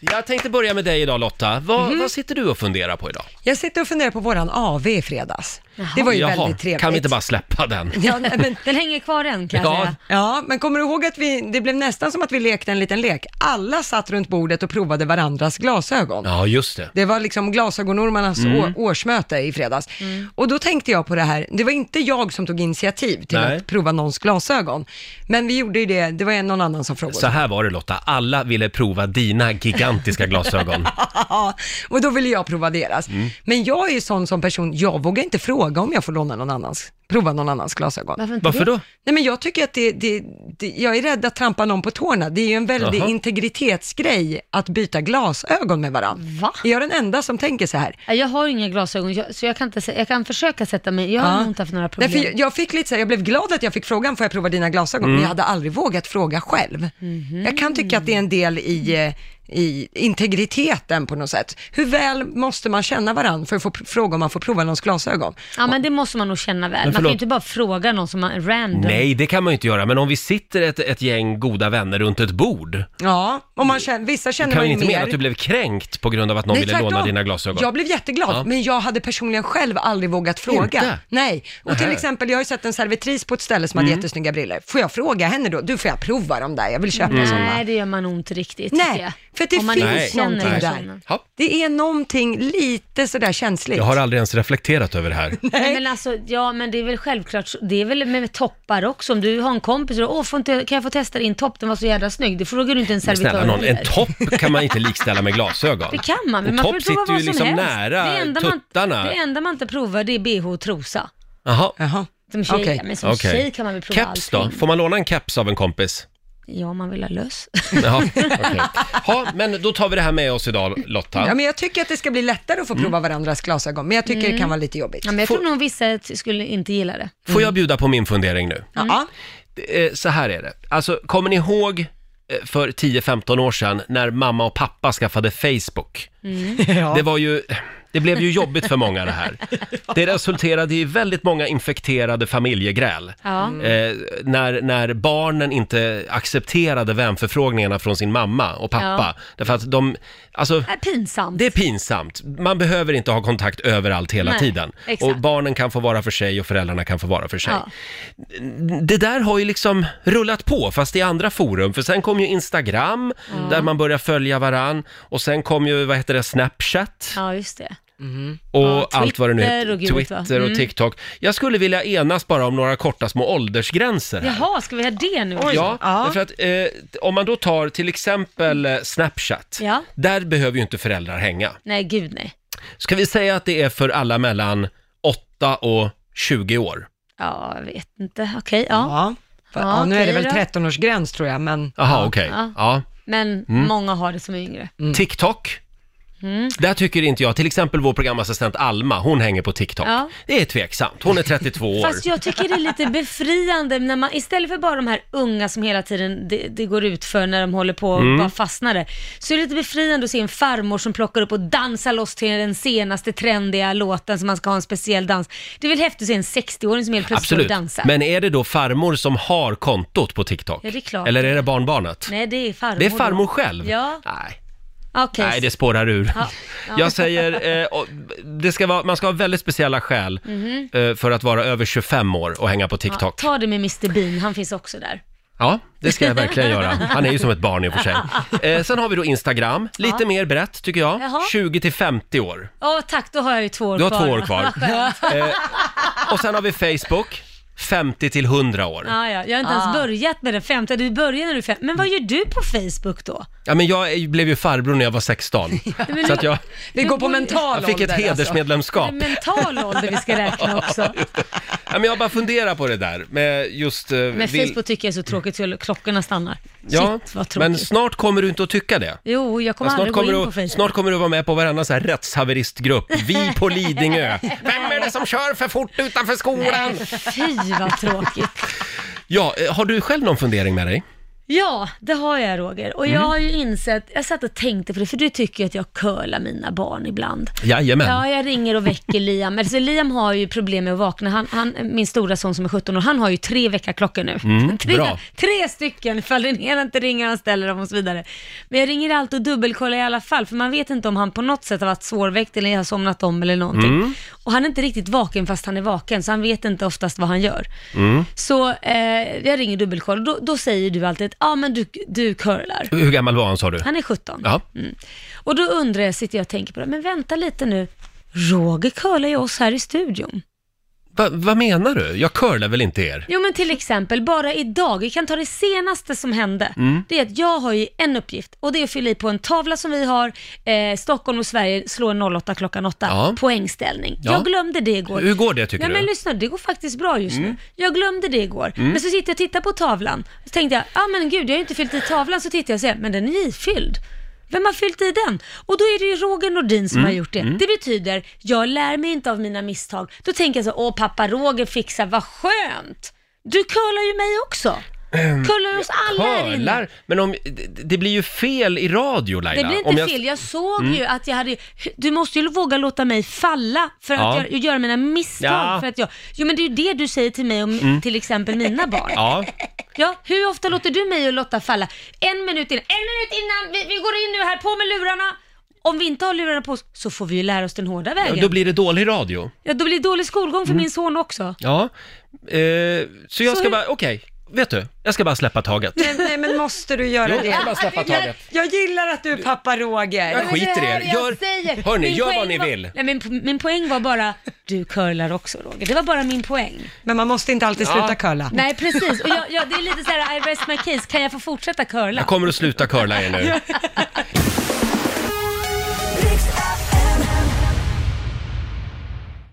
jag tänkte börja med dig idag Lotta. Vad, Mhm. vad sitter du och funderar på idag? Jag sitter och funderar på våran AV i fredags. Det var ju väldigt trevligt. Mm. kan vi inte bara släppa den? Ja, nej, men, Den hänger kvar än kan jag Ja. säga. ja, men kommer du ihåg att vi, det blev nästan som att vi lekte en liten lek. Alla satt runt bordet och provade varandras glasögon. Ja, Mm. just det. Det var liksom glasögonormarnas å- årsmöte i fredags. Mm. Och då tänkte jag på det här, det var inte jag som tog initiativ till Nej. att prova någons glasögon. Men vi gjorde ju det, det var en någon annan som frågade. Så här var det Lotta, alla ville prova dina gigantiska glasögon. Ja, och då ville jag prova deras. Mm. Men jag är ju sån som person, jag vågar inte fråga om jag får låna någon annans, prova någon annans glasögon. Varför inte Varför det? då? Nej men jag tycker att det, det, det jag är rädd att trampa någon på tårna. Det är ju en väldig Jaha. integritetsgrej att byta glasögon med varandra. Va? Är jag den enda som tänker så här? Nej, Jag har inga glasögon, jag, så jag kan, inte, sä- jag kan försöka sätta mig. Jag har nog inte haft några problem. Nej, för jag- jag, fick lite så här, jag blev glad att jag fick frågan, får jag prova dina glasögon? Mm. Men jag hade aldrig vågat fråga själv. Mhm. Jag kan tycka att det är en del i, eh, i integriteten på något sätt. Hur väl måste man känna varandra för att få pr- fråga om man får prova någons glasögon? Ja, men det måste man nog känna väl. Man kan ju förlåt. inte bara fråga någon som man random. Nej, det kan man ju inte göra, men om vi sitter ett, ett gäng goda vänner runt ett bord, Ja, och man känner, vissa känner kan man vi ju inte mer. mena att du blev kränkt på grund av att någon ville låna tvärtom. dina glasögon? Jag blev jätteglad, Ja. men jag hade personligen själv aldrig vågat fråga. Inte? Nej. Och till Nähä. Mm. exempel, jag har ju sett en servitris på ett ställe som hade jättesnygga briller. Får jag fråga henne då? Du, får jag prova dem där? Jag vill köpa Mm. sådana. Nej, det gör man nog inte riktigt. Mm. Nej, tycker jag. för det Om man finns inte känner någonting där. personen. Ja. Det är någonting lite sådär känsligt. Jag har aldrig ens reflekterat över det här. Nej, men alltså, ja, men det är väl självklart, så- det är väl med toppar också. Om du har en kompis och åh, får inte, kan jag få testa din topp? Den var så jävla snygg. Det frågar du inte en servitör Snälla någon, en heller. topp kan man inte likställa med glasögon. Det kan man, men En man får topp ju prova sitter vad ju som liksom helst. nära det, enda tuttarna. Man, det enda man inte provar det är bh och trosa. Jaha, Jaha. Som tjej, Okej. men som okej. tjej kan man väl prova Keps då? allting. Får man låna en keps av en kompis? Ja, om man vill ha löss. Jaha, okej. Ja, men då tar vi det här med oss idag Lotta. Ja, men jag tycker att det ska bli lättare att få Mm. prova varandras glasögon, men jag tycker det kan vara lite jobbigt. Mm. Ja, men jag tror nog vissa t- skulle inte gilla det. Får jag bjuda på min fundering nu? Ja. Mm. Eh, Så här är det. Alltså, kommer ni ihåg eh, för 10-15 år sedan när mamma och pappa skaffade Facebook? Ja. Det var ju... Det blev ju jobbigt för många det här. Det resulterade i väldigt många infekterade familjegräl. Ja. Eh, när, när barnen inte accepterade vänförfrågningarna från sin mamma och pappa. Därför att de, alltså, Det är pinsamt. det är pinsamt. Man behöver inte ha kontakt överallt hela Nej, tiden. exakt. Och barnen kan få vara för sig och föräldrarna kan få vara för sig. Ja. Det där har ju liksom rullat på, fast i andra forum. För sen kom ju Instagram, där man börjar följa varann. Och sen kom ju, vad heter det, Snapchat ja, just det. och Ja, allt vad det nu Twitter heter. och gud, Mm. Twitter va? och TikTok. Jag skulle vilja enas bara om några korta små åldersgränser här. Jaha, ska vi ha det nu? Ja, Ja. därför att eh, om man då tar till exempel eh, Snapchat, Ja. där behöver ju inte föräldrar hänga. Nej, gud nej. Ska vi säga att det är för alla mellan 8 och 20 år? Ja, jag vet inte. Okej, ja. Ja. För, Ja, ja, nu är det väl okej då. 13-årsgräns tror jag, men Jaha, okej. Ja. Ja. Mm. Men många har det som är yngre. TikTok? Mm. Där tycker inte jag, till exempel vår programassistent Alma, hon hänger på TikTok. Ja. Det är tveksamt, hon är 32 år. Fast jag tycker det är lite befriande när man, istället för bara de här unga som hela tiden det, det går ut för när de håller på och Mm. bara fastnar där, så är det lite befriande att se en farmor som plockar upp och dansar loss till den senaste trendiga låten som man ska ha en speciell dans. Det är väl häftigt att se en 60-åring som helt plötsligt står och Absolut. dansar. Men är det då farmor som har kontot på TikTok? Ja, det är klart. Eller är det barnbarnet? Nej, det är farmor. Det är farmor då. själv? Ja, Nej, okej. Nej det spårar ur. Ja, ja. Jag säger, eh, och det ska vara, man ska ha väldigt speciella skäl eh, för att vara över 25 år och hänga på Mhm. ja, TikTok. ta det med Mr Bean, han finns också där. Ja, det ska jag verkligen göra. Han är ju som ett barn i och för sig. Eh, sen har vi då Instagram, lite mer brett tycker jag. Jaha. 20 till 50 år. Ja, tack, då har jag ju två år Du har kvar. två år va? kvar. Eh, och sen har vi Facebook, 50 till 100 år. Ja, ja. Jag har inte ens börjat med den femte, du börjar när du är fem. Men vad gör du på Facebook då? Ja, men jag är- blev ju farbror när jag var 16. men Så att du- jag, vi Det går på borde- mental jag fick ett ålder, alltså. hedersmedlemskap. Mental ålder vi ska räkna också. Ja, men jag bara funderar på det där med just... eh, Men vill- Facebook tycker jag är så tråkigt så klockorna stannar. Ja, Shit vad men tråkigt. snart kommer du inte att tycka det. Jo, jag kommer Ja, snart, aldrig gå kommer in du, på Facebook. snart kommer du vara med på varenda så här rättshaveristgrupp. Vi på Lidingö. Vem är det som kör för fort utanför skolan? Fy vad tråkigt. Ja, eh, har du själv någon fundering med dig? Ja, det har jag Roger. Och jag Mm. har ju insett, jag satt och tänkte på det, för du tycker ju att jag curlar mina barn ibland. Jajamän. Ja, jag ringer och väcker Liam. Alltså, Liam har ju problem med att vakna. Han, han, min stora son som är 17 år, han har ju tre väckarklockor nu. tre, Mm, bra. tre stycken, ifall den ena inte ringer han ställer dem och så vidare. Men jag ringer alltid och dubbelkollar i alla fall, för man vet inte om han på något sätt har varit svårväckt eller har somnat om eller någonting. Mm. Och han är inte riktigt vaken fast han är vaken, så han vet inte oftast vad han gör. Mm. Så eh, jag ringer dubbelkoll och då, då säger du alltid ja ah, men du, du curlar. Hur gammal var han sa du? Han är 17. Ja. Mm. Och då undrar jag, sitter jag och tänker på det, men vänta lite nu. Roger curlar ju oss här i studion. Va, vad menar du? Jag curlar väl inte er? Jo men till exempel, bara idag, vi kan ta det senaste som hände. Mm. Det är att jag har ju en uppgift och det är att fylla i på en tavla som vi har, eh, Stockholm och Sverige slår 08 klockan 8, Ja. poängställning. Ja. Jag glömde det igår. Hur går det tycker Nej men du? Mm. lyssna, det går faktiskt bra just nu. Jag glömde det igår. Men så sitter jag och tittar på tavlan. Så tänkte jag, ja ah, men gud jag har ju inte fyllt i tavlan. Så tittar jag och säger, men den är ifylld. Vem har fyllt i den? Och då är det ju Roger Nordin Mm, som har gjort det. Det betyder, jag lär mig inte av mina misstag. Då tänker jag så, åh pappa Roger fixar, vad skönt. Du curlar ju mig också. Curlar oss alla här inne. Ehm, Curlar? Men om, det, det blir ju fel i radio Laila. Det blir om Mm. inte fel. Jag såg ju att jag hade... Du måste ju våga låta mig falla för att Ja. jag, göra mina misstag. Ja. Mm. För att jag, jo, men det är ju det du säger till mig om till exempel mina barn. Ja. Ja, hur ofta låter du mig och Lotta falla? En minut innan. En minut innan! Vi, vi går in nu här, på med lurarna! Om vi inte har lurarna på oss så får vi ju lära oss den hårda vägen. då blir Mm. det dålig radio. ja, då blir det dålig skolgång för min son också. Ja, eh, så jag Så ska hur- bara, okej, vet du, jag ska bara släppa taget. Nej, nej, men måste du Jo, göra jag ska det? bara släppa taget. Jag gillar att du är pappa Jag Roger. Men skiter i det er. hör jag Gör- säger. hörni, Min gör vad poäng ni var- vill. Nej, men po- min poäng var bara, du curlar också Roger. Det var bara min poäng. Men man måste inte alltid sluta curla. Nej precis, och jag, jag, det är lite så här: I rest my case, kan jag få fortsätta curla? Jag kommer att sluta curla er nu.